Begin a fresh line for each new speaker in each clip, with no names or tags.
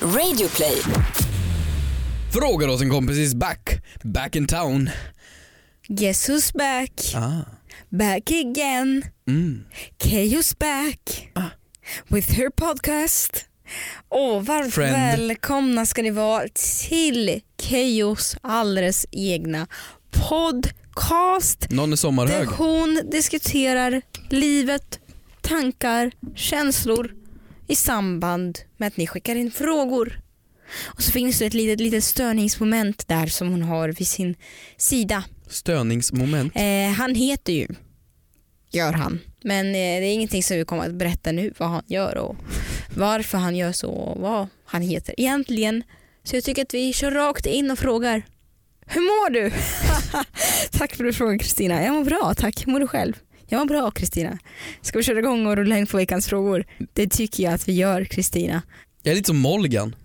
Radioplay.
Frågar åt en kompis is back, back in town.
Guess who's back?
Ah.
Back again.
Mm.
Keyo's back.
Ah.
With her podcast. Och varmt
Friend.
välkomna ska ni vara till Keyyos alldeles egna podcast.
Någon är sommarhög.
Där hon diskuterar livet, tankar, känslor i samband med att ni skickar in frågor. Och så finns det ett litet, litet störningsmoment där som hon har vid sin sida.
Störningsmoment.
Eh, han heter ju, gör han. Men eh, det är ingenting som vi kommer att berätta nu vad han gör och varför han gör så och vad han heter egentligen. Så jag tycker att vi kör rakt in och frågar. Hur mår du? tack för att du frågar Kristina. Jag mår bra tack. Hur mår du själv? Jag mår bra Kristina. Ska vi köra igång och rulla in på veckans frågor? Det tycker jag att vi gör Kristina.
Jag är lite som Molgan.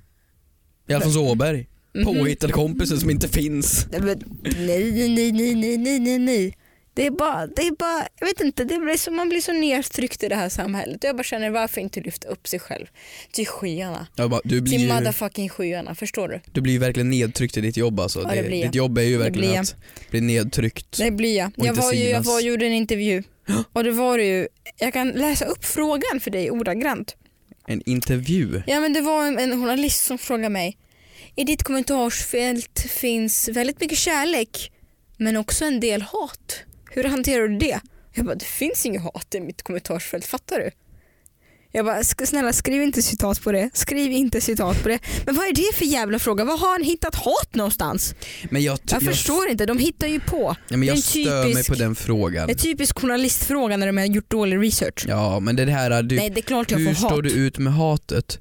I Alfons Åberg.
Mhm.
Påhittad kompisen som inte finns.
Nej, men, nej, nej, nej, nej, nej, nej, nej. Det är bara, det är bara, jag vet inte, det blir så, man blir så nedtryckt i det här samhället. Jag bara känner varför inte lyfta upp sig själv till skyarna.
Jag bara, du blir
Till
ju
motherfucking skyarna, förstår du?
du blir ju verkligen nedtryckt i ditt jobb alltså.
Ja, det blir jag.
ditt jobb är ju
blir
verkligen
jag.
att bli nedtryckt.
Det blir jag.
Och
Jag,
inte
var ju, jag
synas.
var, gjorde en intervju och det var det ju, jag kan läsa upp frågan för dig ordagrant.
En intervju.
Ja men det var en, en journalist som frågade mig. I ditt kommentarsfält finns väldigt mycket kärlek men också en del hat. Hur hanterar du det? Jag bara, det finns inget hat i mitt kommentarsfält, fattar du? Jag bara, "Sk- snälla skriv inte citat på det. Skriv inte citat på det. Men vad är det för jävla fråga? Var har han hittat hat någonstans?
Men jag,
Jag, förstår inte, de hittar ju på.
Ja, men
Det är
jag
en
stör mig
typisk-
på den frågan.
Det är typisk journalistfråga när de har gjort dålig research.
Ja men det här, du,
Nej det är klart jag
Hur
får
står
hat.
du ut med hatet?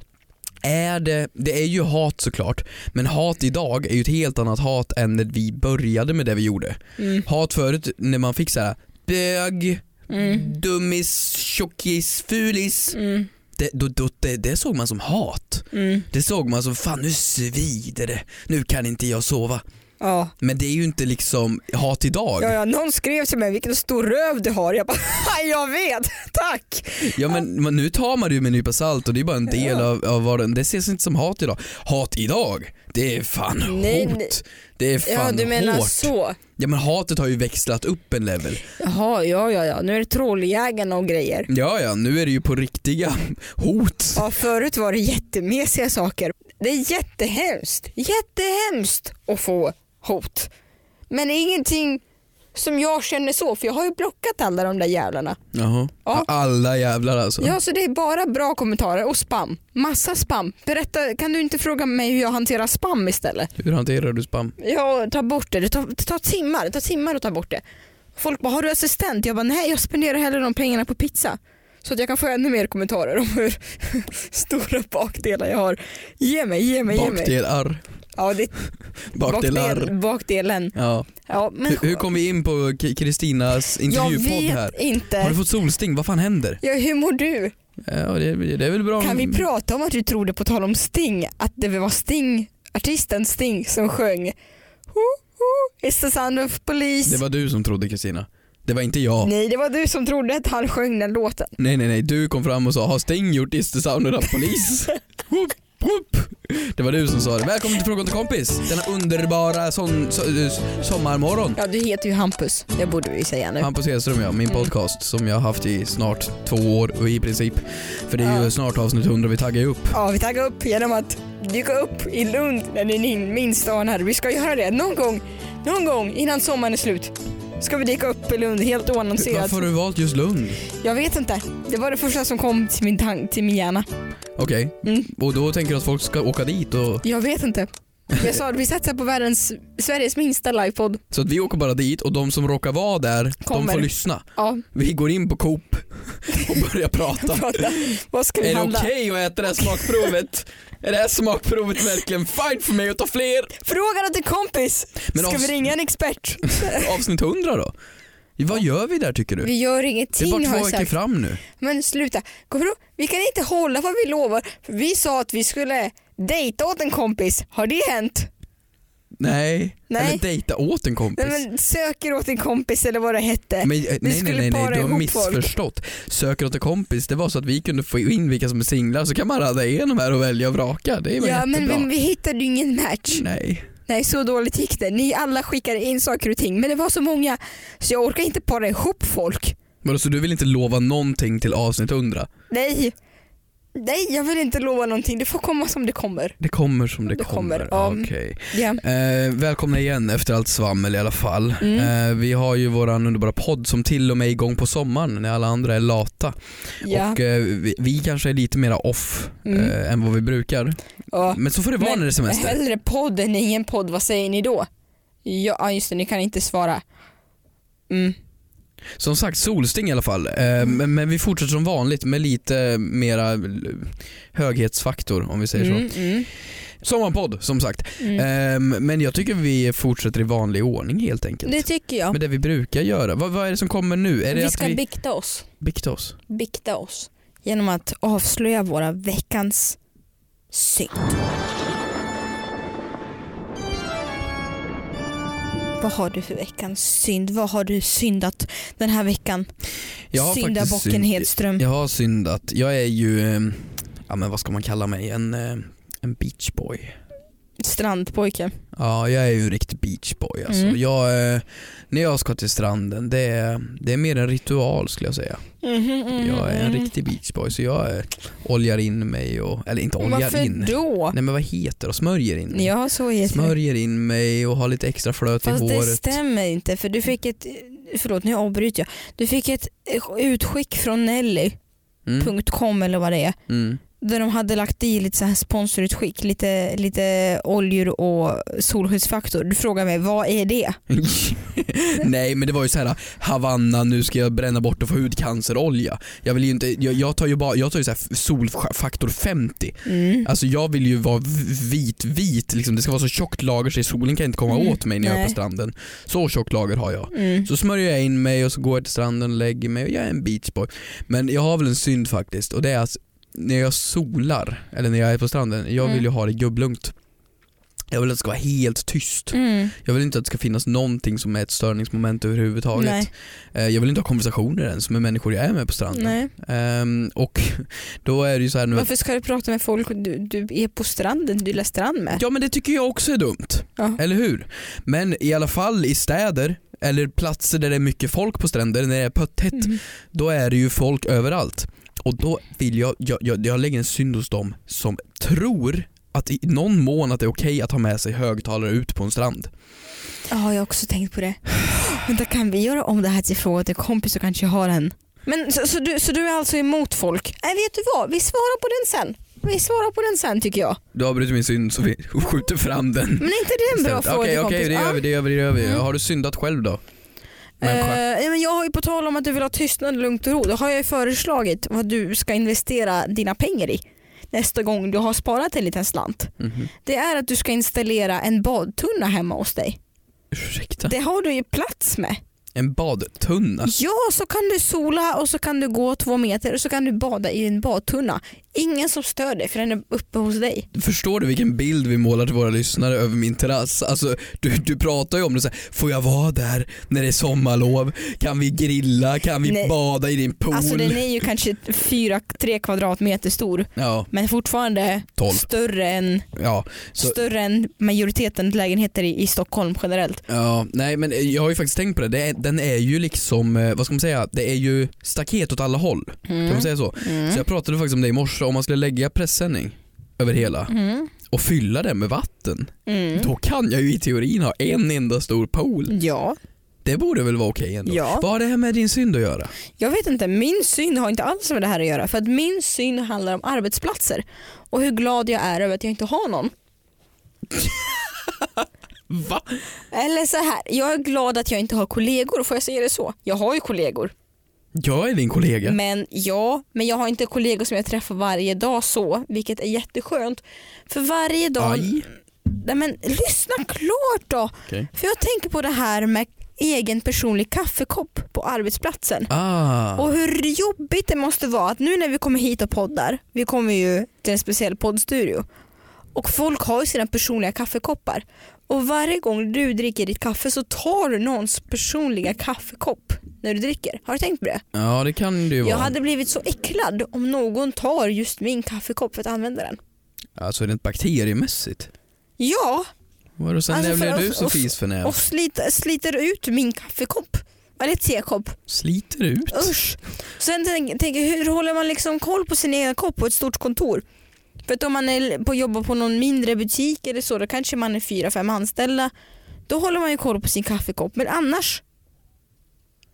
Är det, det är ju hat såklart, men hat idag är ju ett helt annat hat än när vi började med det vi gjorde.
Mm.
Hat förut när man fick såhär bög,
Mm.
dummis, tjockis, fulis.
Mm.
Det, då, då, det, det såg man som hat.
Mm.
Det såg man som fan nu svider det, nu kan inte jag sova.
Ja.
Men det är ju inte liksom hat idag.
Ja,
Ja,
ja, någon skrev till mig vilken stor röv du har. Jag bara, jag vet, tack.
men, men nu tar man det ju med en nypa salt och det är bara en del av, av vardagen. Det ses inte som hat idag. Hat idag, det är fan
Nej,
hot.
nej.
Det är fan
ja, du menar
hårt.
så.
Ja men hatet har ju växlat upp en level.
Jaha, ja, ja, ja, nu är det trolljägarna och grejer.
Ja ja, nu är det ju på riktiga hot.
Ja, förut var det jättemesiga saker. Det är jättehemskt, jättehemskt att få hot. Men det är ingenting som jag känner så, för jag har ju blockat alla de där jävlarna.
Jaha.
Ja.
Alla jävlar alltså.
Ja, så det är bara bra kommentarer och spam. Massa spam. Berätta, kan du inte fråga mig hur jag hanterar spam istället?
Hur hanterar du spam?
Ja, ta bort det. Det tar, det tar timmar. Det tar timmar att ta bort det. Folk bara, har du assistent? Jag bara, nej jag spenderar hellre de pengarna på pizza. Så att jag kan få ännu mer kommentarer om hur stora bakdelar jag har. Ge mig, ge mig, ge mig.
Bakdelar.
Ja, det är
Bakdelar.
bakdel- bakdelen.
Ja.
Ja, men
Hur, hur kom vi in på K- Kristinas
jag
intervjupodd
vet
här? Har du
inte.
fått solsting? Vad fan händer?
Ja, hur mår du?
Ja, det, det är väl bra om-
Kan vi prata om att du trodde på tal om Sting, att det var Sting, artisten Sting som sjöng "Ho, ho, It's the sound of police.
Det var du som trodde Kristina. Det var inte jag.
Nej, det var du som trodde att han sjöng den låten.
Nej nej nej, du kom fram och sa har Sting gjort Is the sound of polis? whoop, whoop. Det var du som sa det. Välkommen till Frågan till kompis. Denna underbara son, so, sommarmorgon.
Ja, du heter ju Hampus. Det borde vi säga nu.
Hampus Hedström ja, min
Mm.
podcast som jag har haft i snart två år och i princip. För det är ju
Ja.
snart avsnitt 100 vi taggar ju upp.
Ja, vi taggar upp genom att dyka upp i Lund när ni minst anar. Vi ska göra det någon gång, någon gång innan sommaren är slut. Ska vi dyka upp i Lund helt oannonserat.
Varför har du valt just Lund?
Jag vet inte. Det var det första som kom till min, tank- till min hjärna.
Okej,
Mm.
och då tänker du att folk ska åka dit och...
Jag vet inte. Jag sa att vi satsar på världens, Sveriges minsta livepodd.
Så att vi åker bara dit och de som råkar vara där, de
Kommer.
får lyssna.
Ja,
Vi går in på Coop och börjar prata.
prata. Vad ska vi
Är det
handla?
okej att äta det här smakprovet? är det här smakprovet verkligen fine för mig att ta fler?
Fråga åt en kompis.
Men
ska
avs-
vi ringa en expert?
Avsnitt 100 då? Vad gör vi där tycker du?
Vi gör
Det är
ingenting
bara
har
två
jag
veckor
sagt.
fram nu.
Men sluta, kommer du? vi kan inte hålla vad vi lovar. För vi sa att vi skulle dejta åt en kompis. Har det hänt?
Nej.
Nej.
Eller dejta åt en kompis.
Nej, men söker åt en kompis eller vad det hette.
Men, eh, nej, nej,
skulle
nej, nej,
para
du har
ihop folk.
missförstått. Söker åt en kompis, det var så att vi kunde få in vilka som är singlar så kan man radda igenom här och välja och vraka. Det var
Ja men
jättebra. Mm.
vi, vi hittade ju ingen match.
Nej.
Nej så dåligt gick det. Ni alla skickade in saker och ting men det var så många så jag orkar inte para ihop folk.
Vadå, så du vill inte lova någonting till avsnitt 100?
Nej. Nej jag vill inte lova någonting. Det får komma som det kommer.
Det kommer som det,
Det
kommer.
kommer, ja.
Okej.
Ja.
Eh, välkomna igen efter allt svammel i alla fall.
Mm.
Eh, vi har ju våran underbara podd som till och med är igång på sommaren när alla andra är lata.
Ja.
Och eh, vi, vi kanske är lite mera off
Mm.
eh, än vad vi brukar.
ja.
Men så får det vara
Men-
när det är semester.
Hellre podd än ingen podd. Vad säger ni då? Ja ah, just det, ni kan inte svara. Mm.
Som sagt, solsting i alla fall. Eh, men, men vi fortsätter som vanligt med lite mera l- höghetsfaktor om vi säger så.
Mm, mm,
Sommarpodd som sagt.
mm.
Eh, men jag tycker vi fortsätter i vanlig ordning helt enkelt.
Det tycker jag.
Med det vi brukar göra. Vad, vad är det som kommer nu? Är det
Vi
att
ska
vi...
bikta oss.
Bikta oss?
Bikta oss. Genom att avslöja våra veckans synd.
Vad har du för veckans synd? Vad har du syndat den här veckan?
Jag har faktiskt
Syndabocken
synd-
Hedström.
Jag har syndat. Jag är ju, ehm, ja men vad ska man kalla mig? En, eh, en beachboy.
Strandpojke.
Ja, jag är ju en riktig beachboy alltså.
Mm.
Jag, eh, när jag ska till stranden, det är, det är mer en ritual skulle jag säga.
Mm.
Jag är en riktig beachboy så jag eh, oljar in mig och, eller inte oljar
Varför
in.
då?
Nej men vad heter det? Smörjer in mig.
Ja, så heter det.
Smörjer in mig och har lite extra flöt i
Fast det
håret.
stämmer inte för du fick ett, förlåt nu avbryter jag. Du fick ett utskick från Nelly.com
Mm.
eller vad det är.
Mm.
Där de hade lagt i lite så här sponsorutskick, lite, lite oljor och solskyddsfaktor. Du frågar mig vad är det?
Nej men det var ju så här Havanna, nu ska jag bränna bort och få hudcancerolja. Jag vill ju inte, jag, jag tar ju bara, jag tar ju så här solfaktor 50.
Mm.
Alltså jag vill ju vara v- vit, vit liksom. Det ska vara så tjockt lager så solen kan inte komma
Mm,
åt mig när jag är på
nej.
stranden. Så tjockt lager har jag.
Mm.
Så smörjer jag in mig och så går jag till stranden och lägger mig och jag är en beachboy. Men jag har väl en synd faktiskt och det är att när jag solar, eller när jag är på stranden, jag
Mm.
vill ju ha det gubblugnt. Jag vill att det ska vara helt tyst.
Mm.
Jag vill inte att det ska finnas någonting som är ett störningsmoment överhuvudtaget.
Nej.
Eh, Jag vill inte ha konversationer ens med människor jag är med på stranden.
Nej.
Ehm, och då är det ju så här nu att,
Varför ska du prata med folk du, du är på stranden, du gillar strand med?
Ja men det tycker jag också är dumt.
Ja.
Eller hur? Men i alla fall i städer eller platser där det är mycket folk på stränder, när det är pöttätt,
Mm.
då är det ju folk överallt. Och då vill jag, jag, jag, jag lägger en synd hos dem som tror att i någon mån att det är okej att ha med sig högtalare ut på en strand.
Ja, jag har också tänkt på det. Vänta, kan vi göra om det här till fråga till kompis så kanske jag har en. Men så, så, du, så du är alltså emot folk? Nej, vet du vad? Vi svarar på den sen. Vi svarar på den sen tycker jag.
Du avbryter min synd så vi skjuter fram den.
Men är inte det en bra
Istället.
fråga
Okej,
till
okej,
kompis?
det
Ja.
gör vi, det gör vi, det gör vi.
Mm.
Har du syndat själv då? Människa.
Eh, ja, men jag har ju på tal om att du vill ha tystnad, lugnt och ro. Då har jag ju föreslagit vad du ska investera dina pengar i nästa gång du har sparat en liten slant.
Mhm.
Det är att du ska installera en badtunna hemma hos dig.
Ursäkta?
Det har du ju plats med.
En badtunna? Alltså,
Ja, så kan du sola och så kan du gå två meter och så kan du bada i en badtunna. Ingen som stör dig för den är uppe hos dig.
Förstår du vilken bild vi målar till våra lyssnare över min terrass? Alltså, du, du pratar ju om det så här. får jag vara där när det är sommarlov? Kan vi grilla? Kan vi
Nej.
bada i din pool?
Alltså den är ju kanske fyra, tre kvadratmeter stor
Ja,
men fortfarande
tolv.
större än,
Ja, så,
större än majoriteten lägenheter i, i Stockholm generellt.
ja, nej men eh, jag har ju faktiskt tänkt på det. det är, den är ju liksom, eh, vad ska man säga, det är ju staket åt alla håll. Kan
Mm.
man säga så? Mm. Så jag pratade faktiskt om det i morse, om man skulle lägga pressändning över hela
Mm.
och fylla den med vatten,
Mm.
då kan jag ju i teorin ha en enda stor pool.
Ja,
Det borde väl vara okej ändå?
Mm. ja.
Vad har det här med din synd att göra?
Jag vet inte, min syn har inte alls med det här att göra för att min syn handlar om arbetsplatser och hur glad jag är över att jag inte har någon.
Va?
Eller så här, jag är glad att jag inte har kollegor, får jag säga det så? Jag har ju kollegor.
Jag är din kollega.
Men ja, men jag har inte kollegor som jag träffar varje dag så, vilket är jätteskönt. För varje dag...
Aj.
Nej men lyssna klart då!
Okej.
För jag tänker på det här med egen personlig kaffekopp på arbetsplatsen.
Ah.
Och hur jobbigt det måste vara att nu när vi kommer hit och poddar, vi kommer ju till en speciell poddstudio. Och folk har ju sina personliga kaffekoppar. Och varje gång du dricker ditt kaffe så tar du någons personliga kaffekopp när du dricker. Har du tänkt på det?
Ja det kan det ju vara.
Jag hade blivit så äcklad om någon tar just min kaffekopp för att använda den.
Alltså rent bakteriemässigt.
Ja,
Vadå sen
Alltså,
när
för
blev
oss-
du så
oss-
fisförnäv?
och sliter, sliter ut min kaffekopp. Eller tekopp.
Sliter ut?
Usch. Sen tänk- tänker jag, hur håller man liksom koll på sin egen kopp på ett stort kontor? För att om man är på, jobbar på någon mindre butik eller så, då kanske man är fyra, fem anställda. Då håller man ju koll på sin kaffekopp. Men annars,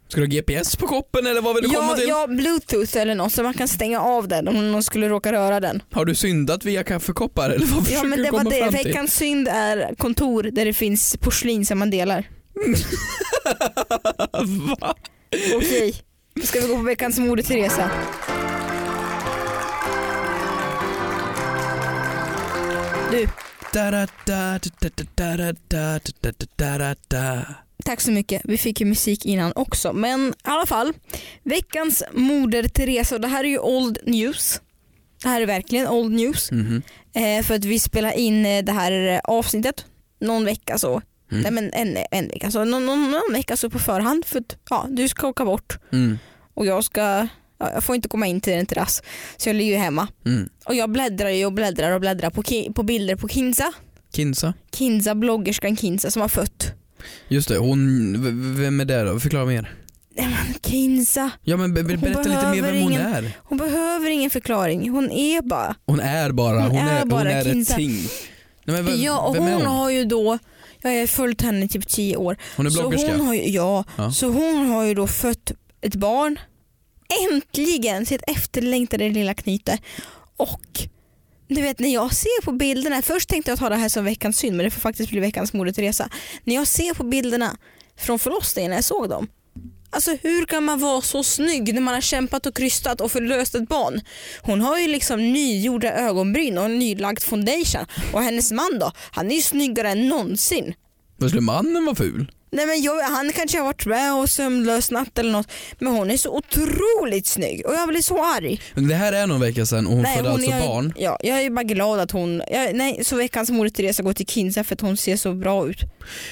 Ska du ha GPS på koppen eller vad vill du komma
ja,
till?
ja, bluetooth eller något så man kan stänga av den om någon skulle råka röra den.
Har du syndat via kaffekoppar eller vad försöker
Ja men
du
det var
komma
det.
fram till?
Veckans synd är kontor där det finns porslin som man delar.
Va?
Okej, då ska vi gå på veckans mode Teresa. Du,
Da-da-da-da-da-da-da-da-da-da-da-da.
tack så mycket. Vi fick ju musik innan också. Men i alla fall, veckans moder Teresa. Och Det här är ju old news. Det här är verkligen old news.
Mhm.
Eh, för att vi spelar in eh, det här eh, avsnittet någon vecka så.
Mm.
Nej men en, en vecka så. Någon, någon, någon vecka så på förhand. För att ja, du ska åka bort
Mm.
och jag ska ja, jag får inte komma in till en terrass. Så jag ligger ju hemma.
Mm.
Och jag bläddrar ju och bläddrar och bläddrar på, ki- på bilder på Kinza.
Kinsa.
Kinza, bloggerskan Kinza som har fött.
Just det, hon, v- v- vem är det då? Förklara mer.
Kinza,
Ja men be- be-
Hon
berätta lite mer
behöver
vem hon
ingen-
är.
hon behöver ingen förklaring. Hon är bara...
Hon är bara, hon, är, hon
bara
är ett
Kinsa.
ting. Nej, men vem,
ja, och
vem
hon,
är hon?
har ju då... Jag har följt henne i typ 10 år.
Hon är
så
bloggerska.
hon har ju, ja,
Ja.
så hon har ju då fött ett barn. Äntligen sitt efterlängtade lilla knyte. Och du vet när jag ser på bilderna, först tänkte jag ta det här som veckans synd men det får faktiskt bli veckans Moder Teresa. När jag ser på bilderna från förlossningen när jag såg dem. Alltså hur kan man vara så snygg när man har kämpat och krystat och förlöst ett barn? Hon har ju liksom nygjorda ögonbryn och en nylagd foundation. Och hennes man då, han är ju snyggare än någonsin.
Vad skulle mannen vara ful?
Nej men jag, han kanske har varit med och sömnlös natt eller något. Men hon är så otroligt snygg och jag blir så arg.
Men det här är någon vecka sedan och hon födde alltså
är,
barn.
Ja, jag är bara glad att hon, jag, nej så veckans mor Teresa går till Kinsa för att hon ser så bra ut.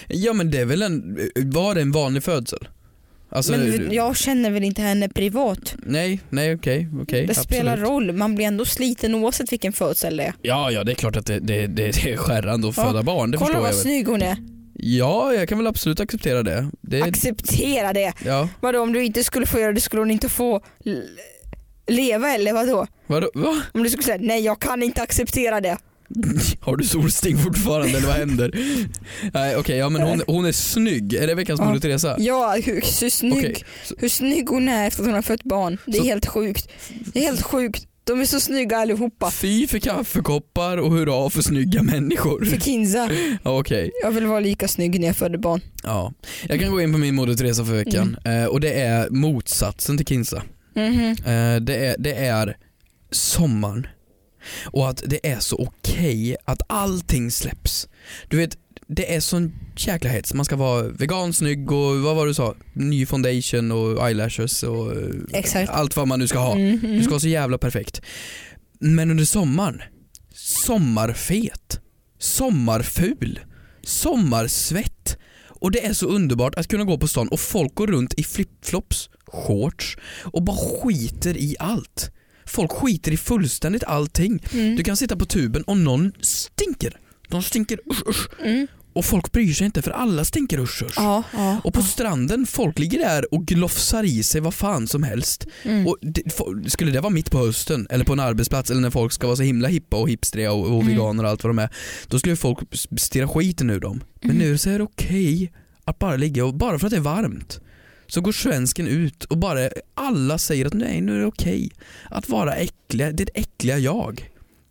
Ja men det är väl en, var det en vanlig födsel? Alltså,
men jag känner väl inte henne privat.
nej, nej okej, okej.
det
absolut.
spelar roll, man blir ändå sliten oavsett vilken födsel det är.
Ja, ja det är klart att det, det, det, det är skärrande att
Ja,
föda barn, det
Kolla
förstår jag
vad
väl.
snygg hon är.
Ja, jag kan väl absolut acceptera det. det
Acceptera det.
ja.
Vadå om du inte skulle få göra det skulle hon inte få l- leva eller vadå?
Vadå? Va?
Om du skulle säga nej jag kan inte acceptera det.
Har du solsting fortfarande eller vad händer? Nej okej, ja men hon, hon är snygg. Är det veckans
Ja.
Moder Teresa?
Ja, hur, så snygg.
Okej, så-
hur snygg hon är efter att hon har fött barn. Det är
Så-
helt sjukt. Det är helt sjukt. De är så snygga allihopa.
Fy för kaffekoppar och hurra för snygga människor.
För Kinza,
Ja, Okej,
jag vill vara lika snygg när jag födde barn.
ja. Jag kan gå in på min Moder Teresa för veckan
Mm.
eh, och det är motsatsen till Kinsa.
Mhm.
Eh, det, är, det är sommaren och att det är så okej att allting släpps. Du vet, det är sån jäkla hets. Man ska vara vegan, snygg och vad var det du sa? Ny foundation och eyelashes och eh,
Exakt.
allt vad man nu ska ha.
Mm,
Du
mm.
ska vara så jävla perfekt. Men under sommaren, sommarfet, sommarful, sommarsvett. Och det är så underbart att kunna gå på stan och folk går runt i flipflops, shorts och bara skiter i allt. Folk skiter i fullständigt allting.
Mm.
Du kan sitta på tuben och någon stinker. De stinker usch, usch.
Mm.
Och folk bryr sig inte för alla stinker usch, usch.
Ja, ja.
Och på stranden, folk ligger där och glofsar i sig vad fan som helst.
Mm.
Och det, fo- skulle det vara mitt på hösten eller på en arbetsplats eller när folk ska vara så himla hippa och hipstriga och, och
Mm.
veganer och allt vad de är. Då skulle folk s- stirra skiten ur dem. Men
Mm.
nu så är det okej att bara ligga och bara för att det är varmt så går svensken ut och bara alla säger att nej nu är det okej att vara äckliga, det är det äckliga jag.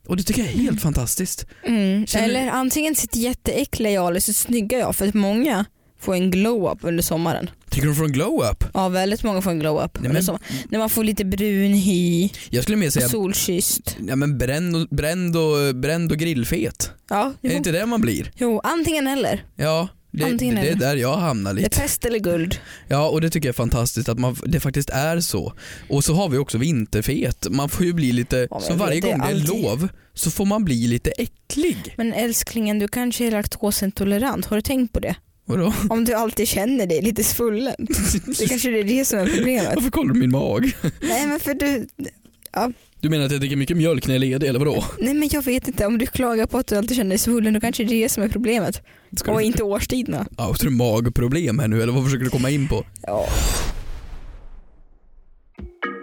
Och det tycker jag är helt
Mm.
fantastiskt.
Mm.
Känner-
Eller antingen sitt jätteäckliga jag eller sitt snygga jag. För att många får en glow-up under sommaren.
Tycker du från glow-up?
Ja, väldigt många får en glow-up
Nej,
under
men-
sommaren. När man får lite brun hy,
Jag skulle mer säga
Alltså- solkysst.
ja, men bränd, och, bränd, och, bränd och grillfet.
Ja,
Är det
jo.
inte det man blir?
jo, antingen eller.
Ja, Det, det,
Antingen
det är
eller.
där jag hamnar
Det är
lite.
pest eller guld.
Ja och det tycker jag är fantastiskt att man, det faktiskt är så. Och så har vi också vinterfet. Man får ju bli lite,
Ja, men
så
jag
varje
vet, det
gång det är
alltid.
lov så får man bli lite äcklig.
Men älsklingen, du kanske är laktosintolerant. Har du tänkt på det?
Vadå?
Om du alltid känner dig lite svullen. Det kanske är det som är problemet.
Varför kollar du min mag?
Nej men för du,
Du menar att jag dricker mycket mjölk när jag är ledig eller vadå?
nej men jag vet inte om du klagar på att du alltid känner dig svullen då kanske det är det som är problemet.
Ska
Och
du,
inte årstiderna.
ja, så är det magproblem här nu eller vad försöker du komma in på?
Ja.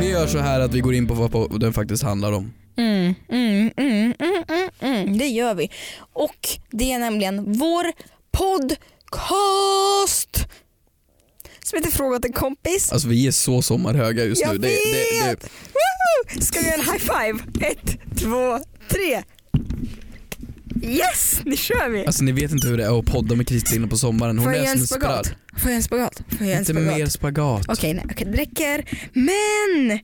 Vi gör så här att vi går in på vad på- den faktiskt handlar om.
Mm, mm, mm, mm, mm, mm. Det gör vi. Och det är nämligen vår podcast som heter Fråga till en kompis.
Alltså vi är så sommarhöga just
Jag
nu.
vet!
det, det,
Woho! Ska vi göra en high five? Ett, två, tre. Yes, nu kör vi.
alltså ni vet inte hur det är att podda med Kristina på sommaren. Hon
Får
är
jag göra
som
en
en
spagat?
sparr.
Får jag en spagat? Får jag en
Inte
spagat?
mer spagat.
Okej, nej, okej, det räcker. Men!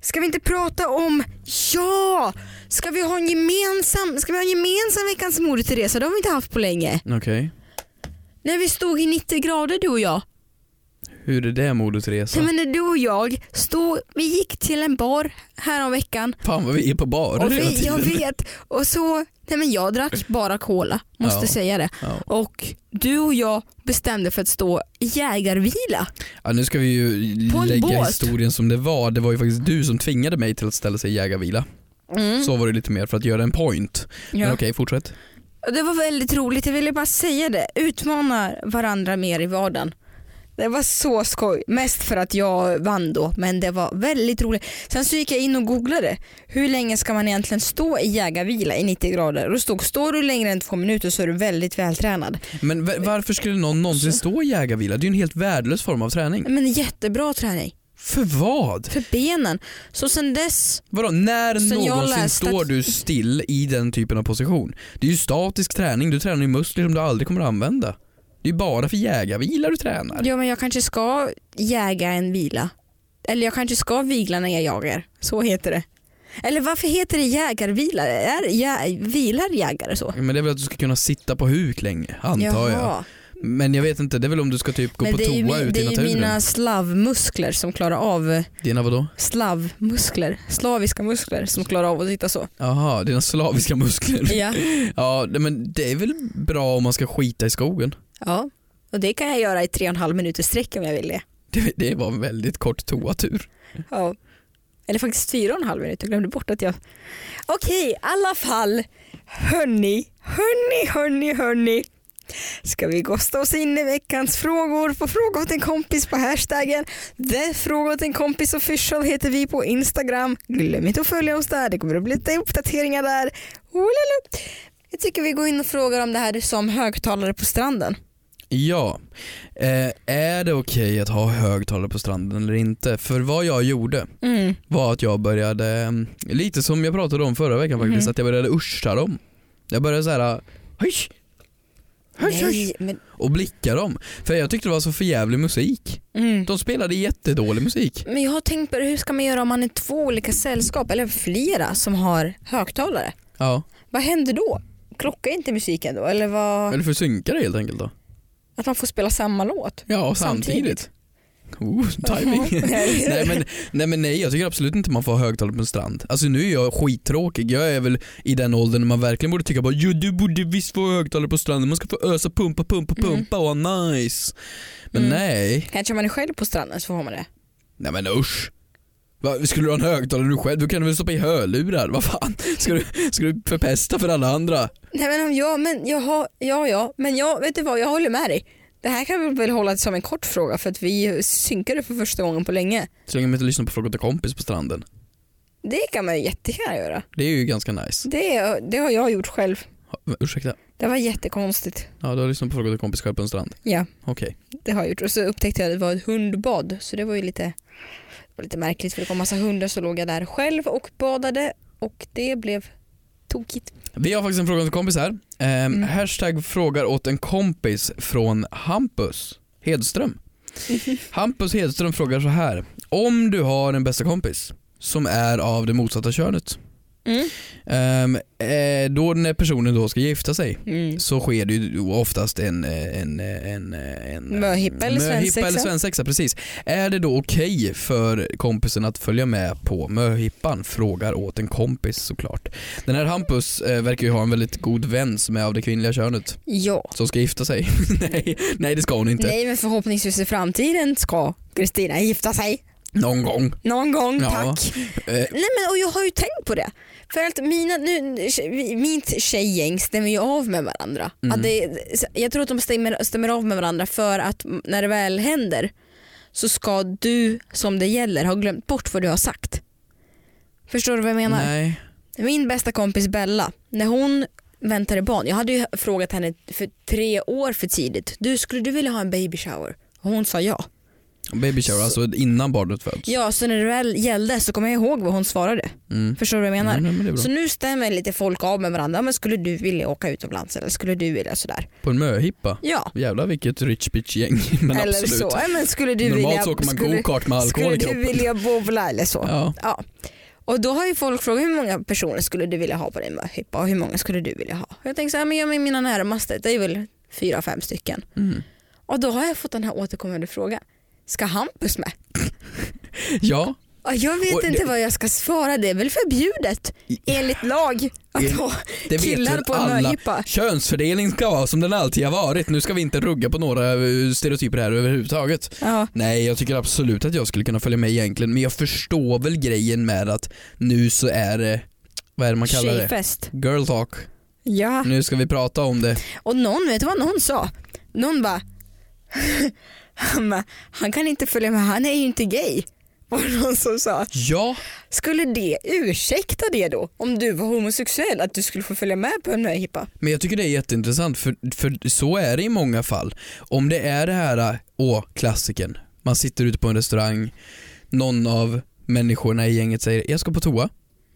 Ska vi inte prata om, ja! Ska vi ha en gemensam, ska vi ha en gemensam veckans moderresa? Det har vi inte haft på länge.
Okej.
När vi stod i 90 grader du och jag.
Hur är det Moder
Nej,
Teresa?
men när du och jag stod, vi gick till en bar häromveckan.
Fan vad vi är på bar
Och
hela
vi,
tiden.
jag vet. Och så, nej men jag drack bara cola, måste
Ja.
säga det.
Ja.
Och du och jag bestämde för att stå i jägarvila.
Ja, nu ska vi ju
På en
lägga
båt.
historien som det var. Det var ju faktiskt du som tvingade mig till att ställa sig i jägarvila.
Mm.
Så var det lite mer för att göra en point. Men okej, fortsätt.
Och Det var väldigt roligt, jag ville bara säga det. Utmana varandra mer i vardagen. Det var så skoj, mest för att jag vann då men det var väldigt roligt. Sen så gick jag in och googlade, hur länge ska man egentligen stå i jägarvila i 90 grader? Och då stod, står du längre än två minuter så är du väldigt vältränad.
Men va- varför skulle någon någonsin stå i jägarvila? Det är ju en helt värdelös form av träning.
Men jättebra träning,
För vad?
för benen. Så sen dess,
Vadå, när
Sen jag
någonsin
läste
står
att-
du still i den typen av position? Det är ju statisk träning, du tränar ju muskler som du aldrig kommer att använda. Det är ju bara för jägarvila du tränar.
ja men jag kanske ska jäga en vila. Eller jag kanske ska vila när jag jagar, så heter det. Eller varför heter det jägarvila? Är, jä, vilar jägare så?
Men det är väl att du ska kunna sitta på huk länge, antar jag. Men jag vet inte, det är väl om du ska typ gå
Men
på
det är ju,
toa
mi-
ute
det
i
är ju
naturen?
mina slavmuskler som klarar av
Dina vadå?
slavmuskler, slaviska muskler som klarar av att sitta så.
Jaha, dina slaviska muskler.
Ja.
Ja, nej, men det är väl bra om man ska skita i skogen?
ja. Och det kan jag göra i tre och en halv minuters sträck om jag vill det.
Det, det var en väldigt kort toatur.
Ja. Eller faktiskt fyra och en halv minut, jag glömde bort att jag... Okej, i alla fall. Hörni, hörni, hörni, hörni. Ska vi gosta oss in i veckans frågor på Fråga åt en kompis på hashtaggen The Fråga åt en kompis official heter vi på Instagram. Glöm inte att följa oss där, det kommer att bli lite uppdateringar där. Olala. Jag tycker vi går in och frågar om det här som högtalare på stranden.
Ja, eh, är det okej att ha högtalare på stranden eller inte? För vad jag gjorde
Mm.
var att jag började, mm, lite som jag pratade om förra veckan faktiskt,
Mhm.
att jag började ursa dem. Jag började såhär, höj, höj, höj,
Nej, men...
och blicka dem. För jag tyckte det var så förjävlig musik.
Mm.
De spelade jättedålig musik.
Men jag har tänkt på det, hur ska man göra om man är två olika sällskap eller flera som har högtalare?
Ja,
Vad händer då? Klockar inte musiken då? Eller vad,
eller försynka det helt enkelt då.
att man får spela samma låt?
Ja, samtidigt.
Samtidigt.
Oh, timing. nej, men, nej men nej, jag tycker absolut inte man får ha högtalare på en strand. Alltså nu är jag skittråkig, jag är väl i den åldern när man verkligen borde tycka bara jo du borde visst få högtalare på stranden, man ska få ösa pumpa pumpa
Mm.
pumpa och ha nice. Men
Mm.
nej,
Kanske om man är själv på stranden så får man det.
nej men usch. Va, skulle du ha en högtalare du själv, du kan väl stoppa i hörlurar, vad fan. Ska du, ska du förpesta för alla andra?
Nej men om jag, men jag har, ja ja, men jag, vet du vad, jag håller med dig. Det här kan vi väl hålla som en kort fråga för att vi synkade för första gången på länge.
Så länge man inte lyssnar på Fråga till kompis på stranden.
Det kan man ju jättegärna göra.
Det är ju ganska nice.
Det, det har jag gjort själv.
Ha, Ursäkta,
Det var jättekonstigt.
ja, du har lyssnat på Fråga till kompis själv på en strand?
Ja.
Okej.
Det har jag gjort. Och så upptäckte jag att det var ett hundbad så det var ju lite var lite märkligt för det kom massa hundar så låg jag där själv och badade och det blev tokigt.
Vi har faktiskt en fråga åt en kompis här. Eh, Hashtag frågar åt en kompis från Hampus Hedström. Hampus Hedström frågar så här. Om du har en bästa kompis som är av det motsatta könet.
Mm.
Eh, eh, då när personen då ska gifta sig
Mm.
så sker det ju oftast en, eh, en, eh, en, eh, en eh,
Möhippa eller svensexa.
eller svensexa. Precis. Är det då okej för kompisen att följa med på möhippan? Frågar åt en kompis såklart. Den här Hampus eh, verkar ju ha en väldigt god vän som är av det kvinnliga könet
Ja.
som ska gifta sig. nej, nej det ska hon inte.
Nej men förhoppningsvis i framtiden ska Kristina gifta sig.
Någon gång.
Någon gång,
Ja.
tack.
Eh,
Nej men och jag har ju tänkt på det. För att mina, nu, mitt tjejgäng stämmer ju av med varandra.
Mm.
Att det, jag tror att de stämmer, stämmer av med varandra för att när det väl händer så ska du som det gäller ha glömt bort vad du har sagt. Förstår du vad jag menar?
nej.
Min bästa kompis Bella, när hon väntade barn. Jag hade ju frågat henne för tre år för tidigt. Du, skulle du vilja ha en baby shower? Och hon sa ja.
Baby shower, alltså innan barnet föds.
Ja, så när det väl gällde så kommer jag ihåg vad hon svarade.
Mm.
Förstår du vad jag menar?
Nej, nej, men det är bra.
Så nu stämmer lite folk av med varandra. Men skulle du vilja åka utomlands eller skulle du vilja sådär?
På en möhippa.
Ja.
Jävlar vilket rich bitch gäng. Men
eller
absolut.
så. Ja, Men skulle du
Normalt
vilja,
så åker man
skulle,
go-kart med alkohol
Skulle
i
du
kroppen.
vilja bowla eller så?
Ja.
Ja. Och då har ju folk frågat hur många personer skulle du vilja ha på din möhippa och hur många skulle du vilja ha? Jag tänker så här, men jag med mina närmaste, det är väl fyra, fem stycken.
Mm.
Och då har jag fått den här återkommande frågan, ska Hampus med?
ja.
Och jag vet
Och det-
inte vad jag ska svara, det är väl förbjudet enligt lag att ha
Det vet
killar
väl
på en
alla.
möhippa.
Könsfördelning ska vara som den alltid har varit. Nu ska vi inte rugga på några eh, stereotyper här överhuvudtaget.
Ja.
Nej, jag tycker absolut att jag skulle kunna följa med egentligen, men jag förstår väl grejen med att nu så är det, vad är det man kallar det? Mm.
Tjejfest.
Girl talk.
Ja.
Nu ska vi prata om det.
Och någon, vet du vad någon sa? Någon bara, han, bara, han kan inte följa med, han är ju inte gay. Var det någon som sa.
Ja,
Skulle det ursäkta det då? Om du var homosexuell, att du skulle få följa med på en möhippa?
men jag tycker det är jätteintressant för, för så är det i många fall. Om det är det här, åh, klassiken. Man sitter ute på en restaurang, någon av människorna i gänget säger jag ska på toa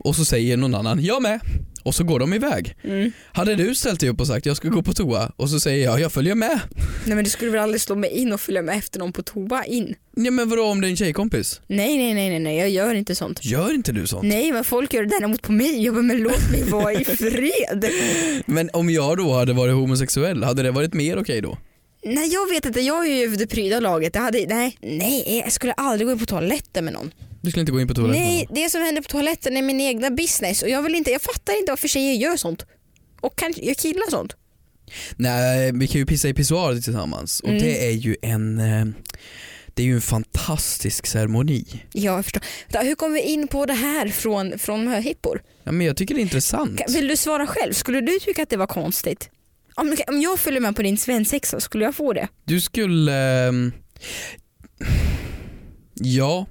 och så säger någon annan jag med och så går de iväg.
Mm.
Hade du ställt dig upp och sagt jag ska gå på toa och så säger jag jag följer med.
Nej men du skulle väl aldrig slå mig in och följa med efter någon på toa in?
Ja men vadå om det är en tjejkompis?
Nej nej nej nej, nej jag gör inte sånt.
Gör inte du sånt?
Nej men folk gör det däremot på mig, jag bara, men låt mig vara i fred.
Men om jag då hade varit homosexuell, hade det varit mer okej då?
nej jag vet inte, jag är ju det pryda laget. Jag hade, nej, nej, jag skulle aldrig gå in på toaletten med någon.
Du skulle inte gå in på toaletten?
Nej, det som händer på toaletten är min egna business och jag vill inte, jag fattar inte varför tjejer gör sånt. Och kan, jag killar sånt.
Nej, vi kan ju pissa i pissoaret tillsammans och
Mm.
det är ju en eh, det är ju en fantastisk ceremoni.
Ja, jag förstår. Vänta, Hur kom vi in på det här från, från möhippor?
Ja, men jag tycker det är intressant.
Ka- Vill du svara själv? Skulle du tycka att det var konstigt? Om, om jag följer med på din svensexa, skulle jag få det?
Du skulle... ehm, ja,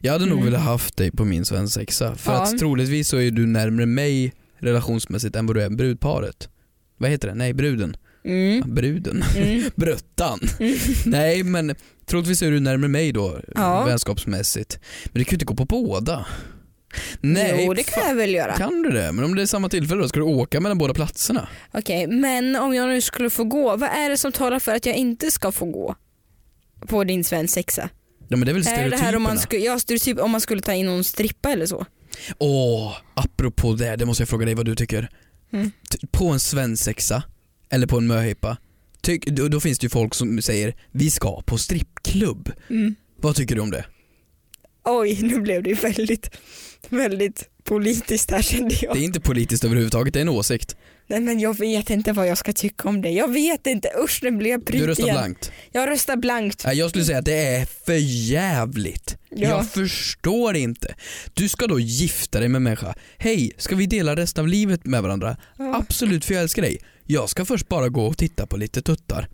jag hade nog
Mm.
velat haft dig på min svensexa. För
Ja.
att troligtvis så är du närmare mig relationsmässigt än vad du är brudparet. Vad heter det? Nej, bruden.
Mm.
Ja, Bruden.
Mm.
Bröttan. Nej, men troligtvis är du närmare mig då
Ja.
vänskapsmässigt. Men du kan ju inte gå på båda. Nej,
jo, det kan
fan,
jag väl göra.
kan du det? Men om det är samma tillfälle då, ska du åka mellan båda platserna?
Okej, men om jag nu skulle få gå, vad är det som talar för att jag inte ska få gå? På din svensexa?
Ja men det är väl
Är det här om
stereotyperna.
man, skulle, ja, stereotyp, om man skulle ta in någon strippa eller så?
Åh, apropå det, det måste jag fråga dig vad du tycker.
Mm.
T- På en svensexa, eller på en möhippa, tyck, då, då finns det ju folk som säger vi ska på strippklubb.
Mm.
Vad tycker du om det?
Oj, nu blev det väldigt, väldigt politiskt här kände jag.
Det är inte politiskt överhuvudtaget, det är en åsikt.
Nej men jag vet inte vad jag ska tycka om det. Jag vet inte, usch nu blev jag
Du
bryt
röstar
igen.
blankt. Äh,
Jag röstar blankt.
Nej, Jag skulle säga att det är för jävligt.
Ja.
Jag förstår inte. Du ska då gifta dig med en människa. Hej, ska vi dela resten av livet med varandra? Absolut, för jag älskar dig. Jag ska först bara gå och titta på lite tuttar.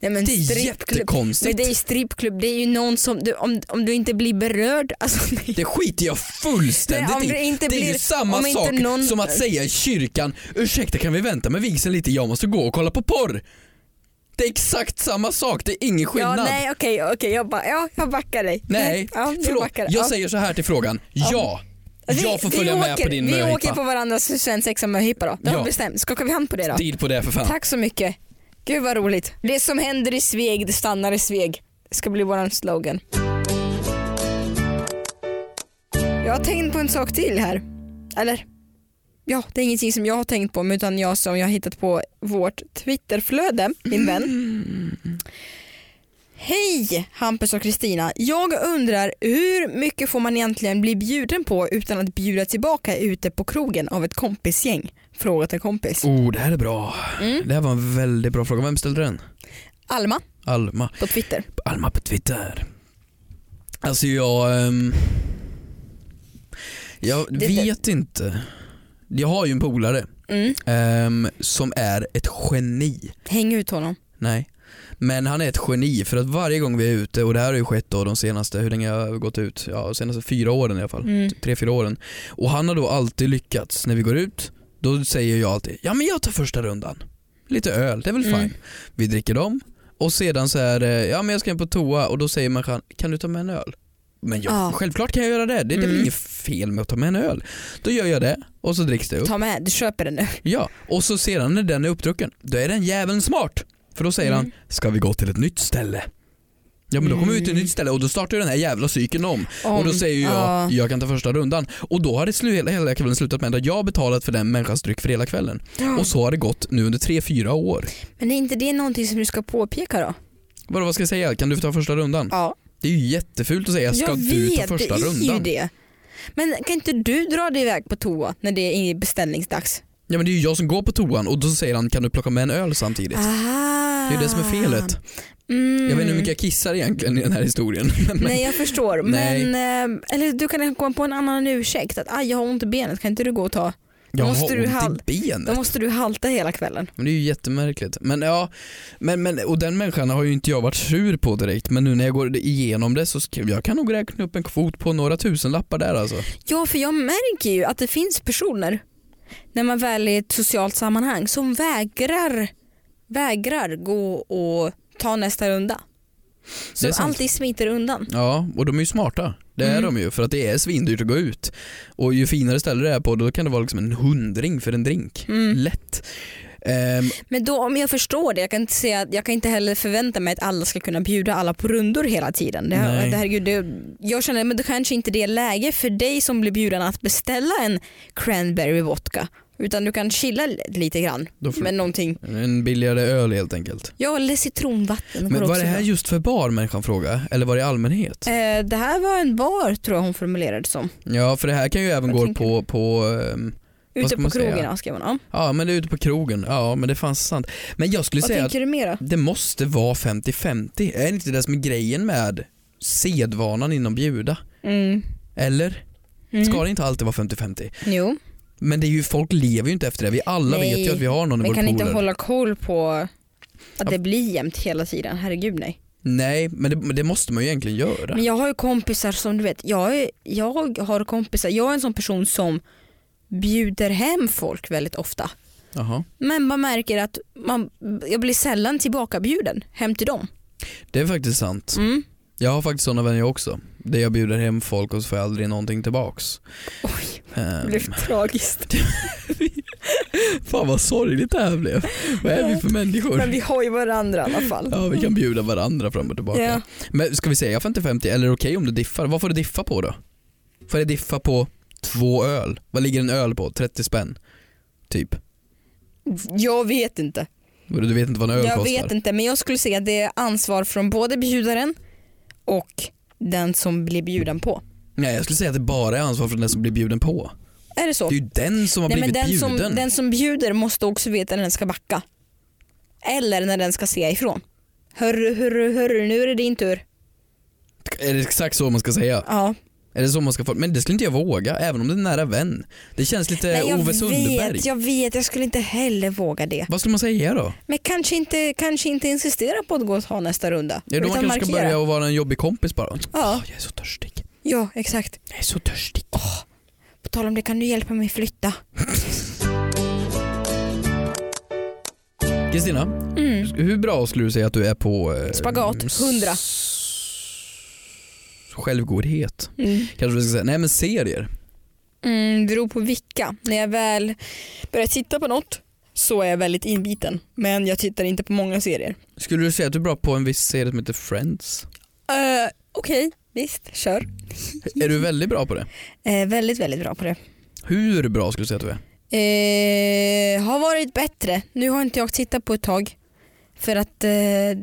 Nej, men
Det är
strippklubb.
jättekonstigt.
Men det är strippklubb, det är ju någon som, du, om, om du inte blir berörd, alltså nej.
Det skiter jag fullständigt
Nej, om
i.
det inte
är ju
blir-
samma
om inte
sak
någon-
som att säga i kyrkan, ursäkta kan vi vänta med vigseln lite, jag måste gå och kolla på porr. Det är exakt samma sak, det är ingen
Ja,
skillnad.
nej okej, okej jag, ba- ja, jag backar dig.
Nej,
ja, jag
förlåt.
backar.
Jag
Ja. Alltså,
säger så här till frågan. Ja, jag får följa
vi
med
åker,
på din
Vi
möhippa.
åker på varandras svensexa möhippa då. Det har
Ja.
vi bestämt. Skakar vi hand på det då?
Deal på det för fan.
Tack så mycket. Gud vad roligt. Det som händer i Sveg, det stannar i Sveg. Det ska bli våran slogan. Jag har tänkt på en sak till här. Eller? Ja, det är ingenting som jag har tänkt på men utan jag som jag har hittat på vårt Twitterflöde, min vän. Hej Hampus och Kristina. Jag undrar hur mycket får man egentligen bli bjuden på utan att bjuda tillbaka ute på krogen av ett kompisgäng? Fråga till kompis.
Oh, det här är bra.
Mm.
Det här var en väldigt bra fråga. Vem ställde den?
Alma
Alma.
på Twitter.
Alma på Twitter. Alltså jag... ehm, jag
Det-
vet inte. Jag har ju en polare
Mm.
ehm, som är ett geni.
Häng ut honom.
Nej. Men han är ett geni för att varje gång vi är ute, och det här har ju skett då de senaste, hur länge har jag gått ut? Ja, de senaste fyra åren i alla fall.
Mm.
Tre, fyra åren. Och han har då alltid lyckats när vi går ut. Då säger jag alltid, ja men jag tar första rundan. Lite öl, det är väl
Mm.
fine. Vi dricker dem och sedan så är det, ja men jag ska in på toa och då säger människan, kan du ta med en öl? Men jag,
Ja.
självklart kan jag göra det, det är väl
Mm.
inget fel med att ta med en öl. Då gör jag det och så dricks det upp.
Ta med, du köper den nu.
Ja, och så sedan när den är uppdrucken, då är den jäveln smart. För då säger
Mm.
han, ska vi gå till ett nytt ställe? Ja men då kommer vi ut till ett nytt ställe och då startar ju den här jävla cykeln om. och då säger ju jag,
ja.
jag kan ta första rundan. Och då har det slu- hela, hela kvällen slutat med att jag har betalat för den människans dryck för hela kvällen.
Mm.
Och så har det gått nu under tre fyra år.
Men är inte det någonting som du ska påpeka då?
Vadå vad ska jag säga? Kan du få ta första rundan?
Ja.
Det är ju jättefult att säga, ska
jag
du ta
vet,
första
det är ju
rundan?
det. Men kan inte du dra dig iväg på toa när det är beställningsdags?
Ja men det är ju jag som går på toan och då säger han, kan du plocka med en öl samtidigt?
Ah.
Det är ju det som är felet.
Mm.
Jag vet inte hur mycket jag kissar egentligen i den här historien. Men-
Nej jag förstår.
Nej.
Men, eh, eller du kan komma på en annan ursäkt. Att aj, jag har ont i benet, kan inte du gå och ta?
Jag
måste
har
du
ont
hal-
i benet.
Då måste du halta hela kvällen.
Men det är ju jättemärkligt. Men ja, men, men, och den människan har ju inte jag varit sur på direkt men nu när jag går igenom det så ska, jag kan nog räkna upp en kvot på några tusen lappar där alltså.
Ja för jag märker ju att det finns personer när man väl är i ett socialt sammanhang som vägrar, vägrar gå och ta nästa runda.
Det är
Som
sant.
alltid smiter undan.
Ja, och de är ju smarta. Det är
Mm.
de ju för att det är svindyrt att gå ut. Och ju finare ställe det är på då kan det vara liksom en hundring för en drink.
Mm.
Lätt. Ehm,
Men då om jag förstår det, jag kan, inte säga, att- jag kan inte heller förvänta mig att alla ska kunna bjuda alla på rundor hela tiden. Det,
Nej.
det, herregud, det, jag känner att det kanske inte är det läge för dig som blir bjuden att beställa en cranberry vodka. Utan du kan chilla li- lite grann
då får,
med någonting.
en billigare öl helt enkelt.
Ja eller citronvatten. går
Men var
också
det här
bra.
just för bar människan fråga? Eller var det i allmänhet?
Eh, det här var en bar tror jag hon formulerade det som.
Ja för det här kan ju även
Vad
gå
tänker
på, på ehm, Vad
Ute
ska
på
man säga?
krogen ja, skrev hon. Ja.
Ja men det är ute på krogen, ja men det fanns sant. Men jag skulle
Vad
säga
tänker du mer då?
att det måste vara 50-50, är det inte det som är grejen med sedvanan inom bjuda?
Mm.
Eller?
Mm.
Ska det inte alltid vara 50-50?
Jo,
Men det är ju, folk lever ju inte efter det, vi alla
Nej,
vet ju att vi har någon i
men
vår
kan
pool.
inte hålla koll på
Ja.
att det blir jämnt hela tiden. Herregud nej.
Nej men det, men det måste man ju egentligen göra.
Men jag har ju kompisar som du vet, jag, är, jag har kompisar, jag är en sån person som bjuder hem folk väldigt ofta.
Jaha.
Men man märker att man, jag blir sällan tillbakabjuden hem till dem.
Det är faktiskt sant.
Mm.
Jag har faktiskt sådana vänner jag också. Där jag bjuder hem folk och så får jag aldrig någonting tillbaks.
Oj, det
Ehm,
blev tragiskt.
Fan vad sorgligt det här blev. Vad är vi för människor?
Men vi har ju varandra i alla fall.
Ja vi kan bjuda varandra fram och tillbaka.
Ja.
Men ska vi säga 50-50 eller okej om du diffar? Vad får du diffa på då? Får du diffa på två öl? Vad ligger en öl på? 30 spänn? Typ.
Jag vet inte.
Du vet inte vad en öl
Jag
kostar?
vet inte men jag skulle säga att det är ansvar från både bjudaren och den som blir bjuden på.
Nej jag skulle säga att det bara är ansvar för den som blir bjuden på.
Är det så?
Det är ju den som har
Nej, men
blivit
den,
bjuden.
Som, den som bjuder måste också veta när den ska backa. Eller när den ska se ifrån. Hörru, hörru, hörru, nu är det din tur.
Är det exakt så man ska säga?
Ja.
Är det så man ska få? Men det skulle inte jag våga även om det är en nära vän. Det känns lite
Nej, jag
Ove Sundberg.
vet, jag vet, jag skulle inte heller våga det.
Vad skulle man säga då?
Men kanske inte, kanske inte insistera på att gå och ta nästa runda.
Är det då man kanske ska börja och vara en jobbig kompis bara?
Ja.
Jag är så törstig.
Ja, exakt.
Jag är så törstig.
På tal om det, kan du hjälpa mig flytta?
Kristina,
Mm.
hur bra skulle du säga att du är på... eh,
Spagat,
s-
100.
Självgodhet.
Mm.
Kanske vi ska säga. Nej men serier.
Mm, beror på vilka. När jag väl börjar titta på något så är jag väldigt inbiten. Men jag tittar inte på många serier.
Skulle du säga att du är bra på en viss serie som heter Friends?
Eh, Okej, visst, kör.
Är du väldigt bra på det?
Eh, väldigt, väldigt bra på det.
Hur bra skulle du säga att du är?
Eh, har varit bättre. Nu har inte jag tittat på ett tag. För att eh,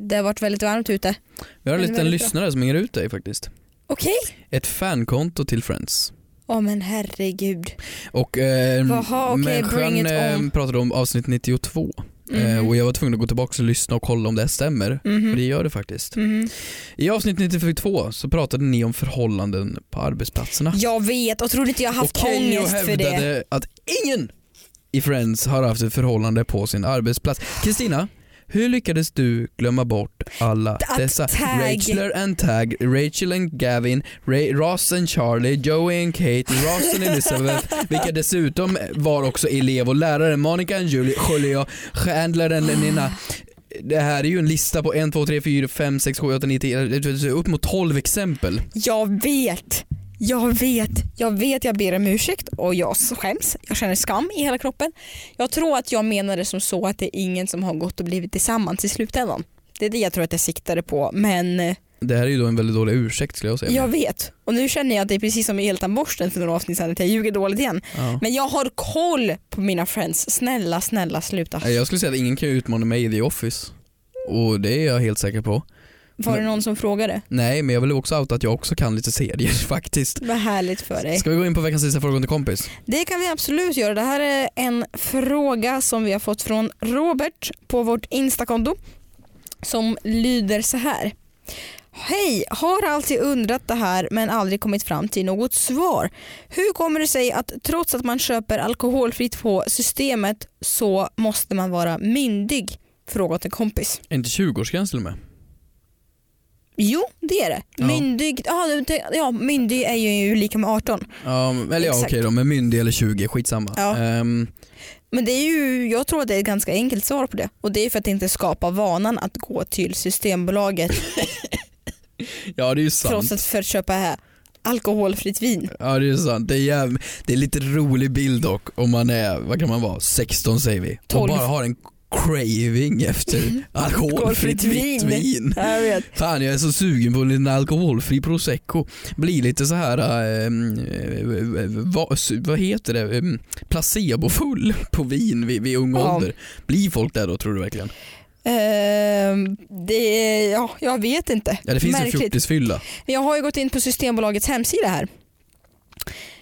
det har varit väldigt varmt ute.
Vi har en
Den är
liten
väldigt bra.
lyssnare som hänger ut dig faktiskt.
Okej.
Ett fankonto till Friends.
Åh men herregud.
Och eh,
Jaha, okej, bring
människan
it
eh,
on.
pratade om avsnitt 92 eh,
Mhm.
och jag var tvungen att gå tillbaka och lyssna och kolla om det stämmer. För det
Mhm.
gör det faktiskt.
Mhm.
I avsnitt 92 så pratade ni om förhållanden på arbetsplatserna.
Jag vet och trodde inte jag haft
och Keyyo
ångest för det.
hävdade att ingen i Friends har haft ett förhållande på sin arbetsplats. Kristina, hur lyckades du glömma bort alla
Att
dessa?
tag.
Rachel and Tag, Rachel and Gavin, Ray, Ross and Charlie, Joey and Kate, Ross and Elizabeth, vilka dessutom var också elev och lärare, Monica and Julie, Julia, Chandler and Nina. Det här är ju en lista på 1, 2, 3, 4, 5, 6, 7, 8, 9, 10, upp mot 12 exempel.
Jag vet. Jag vet, jag vet, jag ber om ursäkt och jag skäms. Jag känner skam i hela kroppen. Jag tror att jag menade som så att det är ingen som har gått och blivit tillsammans i slutändan. Det är det jag tror att jag siktade på men eh,
Det här är ju då en väldigt dålig ursäkt skulle jag säga.
jag vet. Och nu känner jag att det är precis som med eltandborsten för några avsnitt sedan att jag ljuger dåligt igen.
Ja.
Men jag har koll på mina friends. Snälla, snälla sluta.
Nej, Jag skulle säga att ingen kan utmana mig i The Office. Och det är jag helt säker på.
Var det någon som frågade?
Nej, men jag vill också outa att jag också kan lite serier faktiskt.
Vad härligt för dig.
Ska vi gå in på veckans sista fråga till kompis?
Det kan vi absolut göra. Det här är en fråga som vi har fått från Robert på vårt Instakonto som lyder så här. Hej, har alltid undrat det här men aldrig kommit fram till något svar. Hur kommer det sig att trots att man köper alkoholfritt på systemet så måste man vara myndig? Fråga till kompis.
Är inte 20-årsgräns till och med?
Jo, det är det.
Ja.
Myndig, ja, du tänk- ja, myndig är ju lika med 18.
Ja, men- eller ja
Exakt.
okej då, men myndig eller 20, skitsamma.
Ja.
Ehm,
Men det är ju, jag tror att det är ett ganska enkelt svar på det. Och det är för att inte skapa vanan att gå till Systembolaget
ja det är ju
trots
sant.
att för att köpa alkoholfritt vin.
Ja det är sant. Det är, jäv... det är lite rolig bild dock om man är, vad kan man vara, 16 säger vi. Och
12.
bara har en craving efter alkoholfritt vitt
vin.
vin.
Jag vet.
Fan jag är så sugen på en liten alkoholfri prosecco. Blir lite så här eh, eh, vad, vad heter det, Ehm, placebofull på vin vid, vid ung
Ja.
ålder. Blir folk där då tror du verkligen?
Ehm, det är, ja, jag vet inte.
Ja det finns en
Märkligt.
fjortisfylla.
Men jag har ju gått in på Systembolagets hemsida här.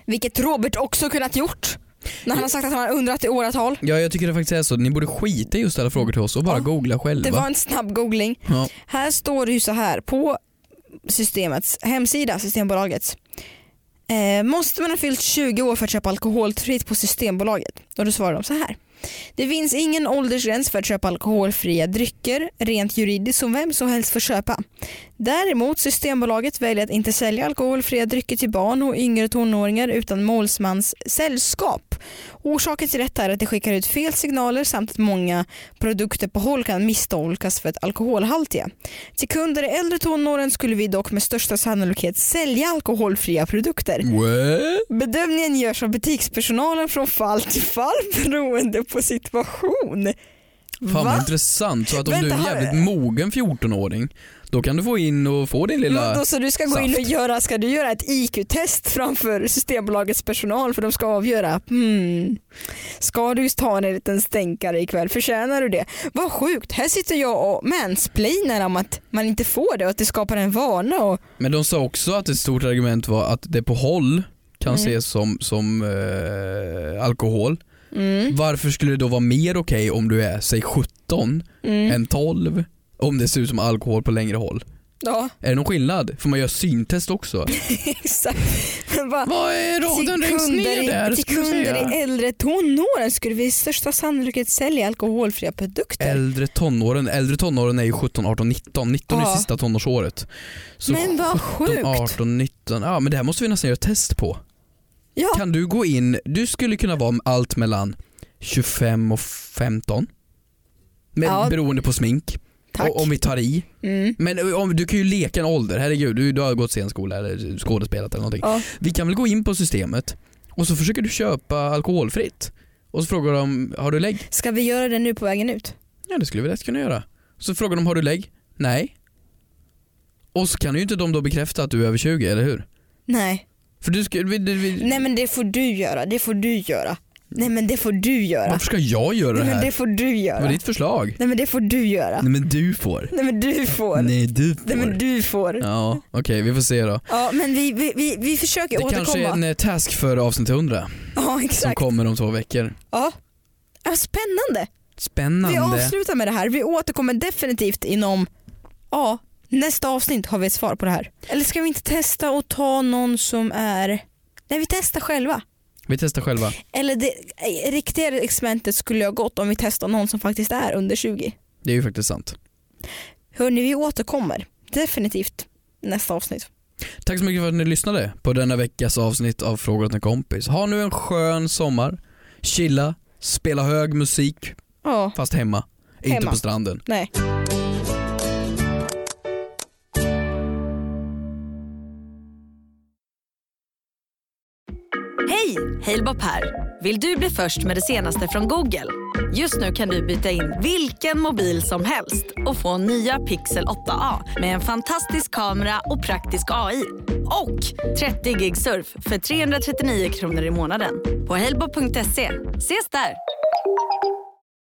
Vilket Robert också kunnat gjort. När han har sagt att han har undrat i åratal.
Ja jag tycker det faktiskt är så, ni borde skita i att ställa frågor till oss och bara
Ja.
googla själva.
Det var en snabb googling.
ja.
Här står det ju så här på systemets hemsida, Systembolagets. Eh, måste man ha fyllt 20 år för att köpa alkoholfritt på Systembolaget? Och då svarar de så här. Det finns ingen åldersgräns för att köpa alkoholfria drycker rent juridiskt som vem som helst får köpa. Däremot Systembolaget väljer att inte sälja alkoholfria drycker till barn och yngre tonåringar utan målsmans sällskap. Orsaken till detta är att det skickar ut fel signaler samt att många produkter på håll kan misstolkas för att alkoholhaltiga. Till kunder i äldre tonåren skulle vi dock med största sannolikhet sälja alkoholfria produkter.
What?
Bedömningen görs av butikspersonalen från fall till fall beroende på situation.
Fan vad
Va?
intressant. Så att om
Vänta,
du är en
har-
jävligt mogen 14-åring då kan du få in och få din lilla...
Men Mm, då, så du ska gå in och
saft.
göra, ska du göra ett IQ-test framför Systembolagets personal för de ska avgöra. Hmm. Ska du ta en liten stänkare ikväll? Förtjänar du det? Vad sjukt, här sitter jag och mansplainar om att man inte får det och att det skapar en vana. Och,
Men de sa också att ett stort argument var att det på håll kan
Mm.
ses som, som eh, alkohol.
Mm.
Varför skulle det då vara mer okej om du är säg 17
Mm.
än 12? Om det ser ut som alkohol på längre håll.
Ja,
Är det någon skillnad? Får man göra syntest också?
exakt. Men bara,
Vad är raden
till
längst
kunder,
ner
i-
där?
till
ska du
kunder
säga?
i äldre tonåren skulle vi i största sannolikhet sälja alkoholfria produkter.
Äldre tonåren, äldre tonåren är ju 17, 18, 19. 19 är
Ja.
sista tonårsåret. Så
Men vad sjukt.
17, 18, 19. Ja men det här måste vi nästan göra ett test på.
Ja.
Kan du gå in, du skulle kunna vara allt mellan 25 och 15. Men
Ja.
beroende på smink.
Tack.
Och om vi tar i.
Mm.
Men eh, om, du kan ju leka en ålder, herregud du, du har gått scenskola eller eh, skådespelat eller någonting.
Ja.
Vi kan väl gå in på systemet och så försöker du köpa alkoholfritt. Och så frågar de, har du lägg?
Ska vi göra det nu på vägen ut?
Ja det skulle vi lätt kunna göra. Så frågar de, har du lägg? Nej. Och så kan ju inte de då bekräfta att du är över 20, eller hur?
Nej.
För du skulle... vi- du- vi-
Nej men det får du göra, det får du göra. Nej men det får du göra.
Varför ska jag göra det
Nej men
här?
det får du
Det
göra.
var ditt förslag.
Nej men det får du göra.
Nej men du får.
Nej men du får.
Nej du får.
Nej men du får. Ja,
Ja okej vi får se då.
men vi, vi, vi, vi försöker
Det
återkomma.
kanske är en eh, task för avsnitt 100
Ja
som
exakt.
kommer om två veckor.
Ja. Ja, spännande. Vi
Spännande.
avslutar med det här. Vi återkommer definitivt inom ja, nästa avsnitt har vi ett svar på det här. Eller ska vi inte testa att ta någon som är... Nej vi testar själva.
Vi testar själva.
Eller det eh, riktiga experimentet skulle jag gått om vi testar någon som faktiskt är under 20.
Det är ju faktiskt sant.
Hörni vi återkommer definitivt nästa avsnitt.
Tack så mycket för att ni lyssnade på denna veckas avsnitt av Fråga åt en kompis. Ha nu en skön sommar. Chilla, spela hög musik,
Ja,
fast hemma. Inte
Hemma.
på stranden.
nej.
Hej! Halebop här. Vill du bli först med det senaste från Google? Just nu kan du byta in vilken mobil som helst och få nya Pixel 8A med en fantastisk kamera och praktisk AI. Och 30 gig surf för 339 kronor i månaden på halebop.se. Ses där!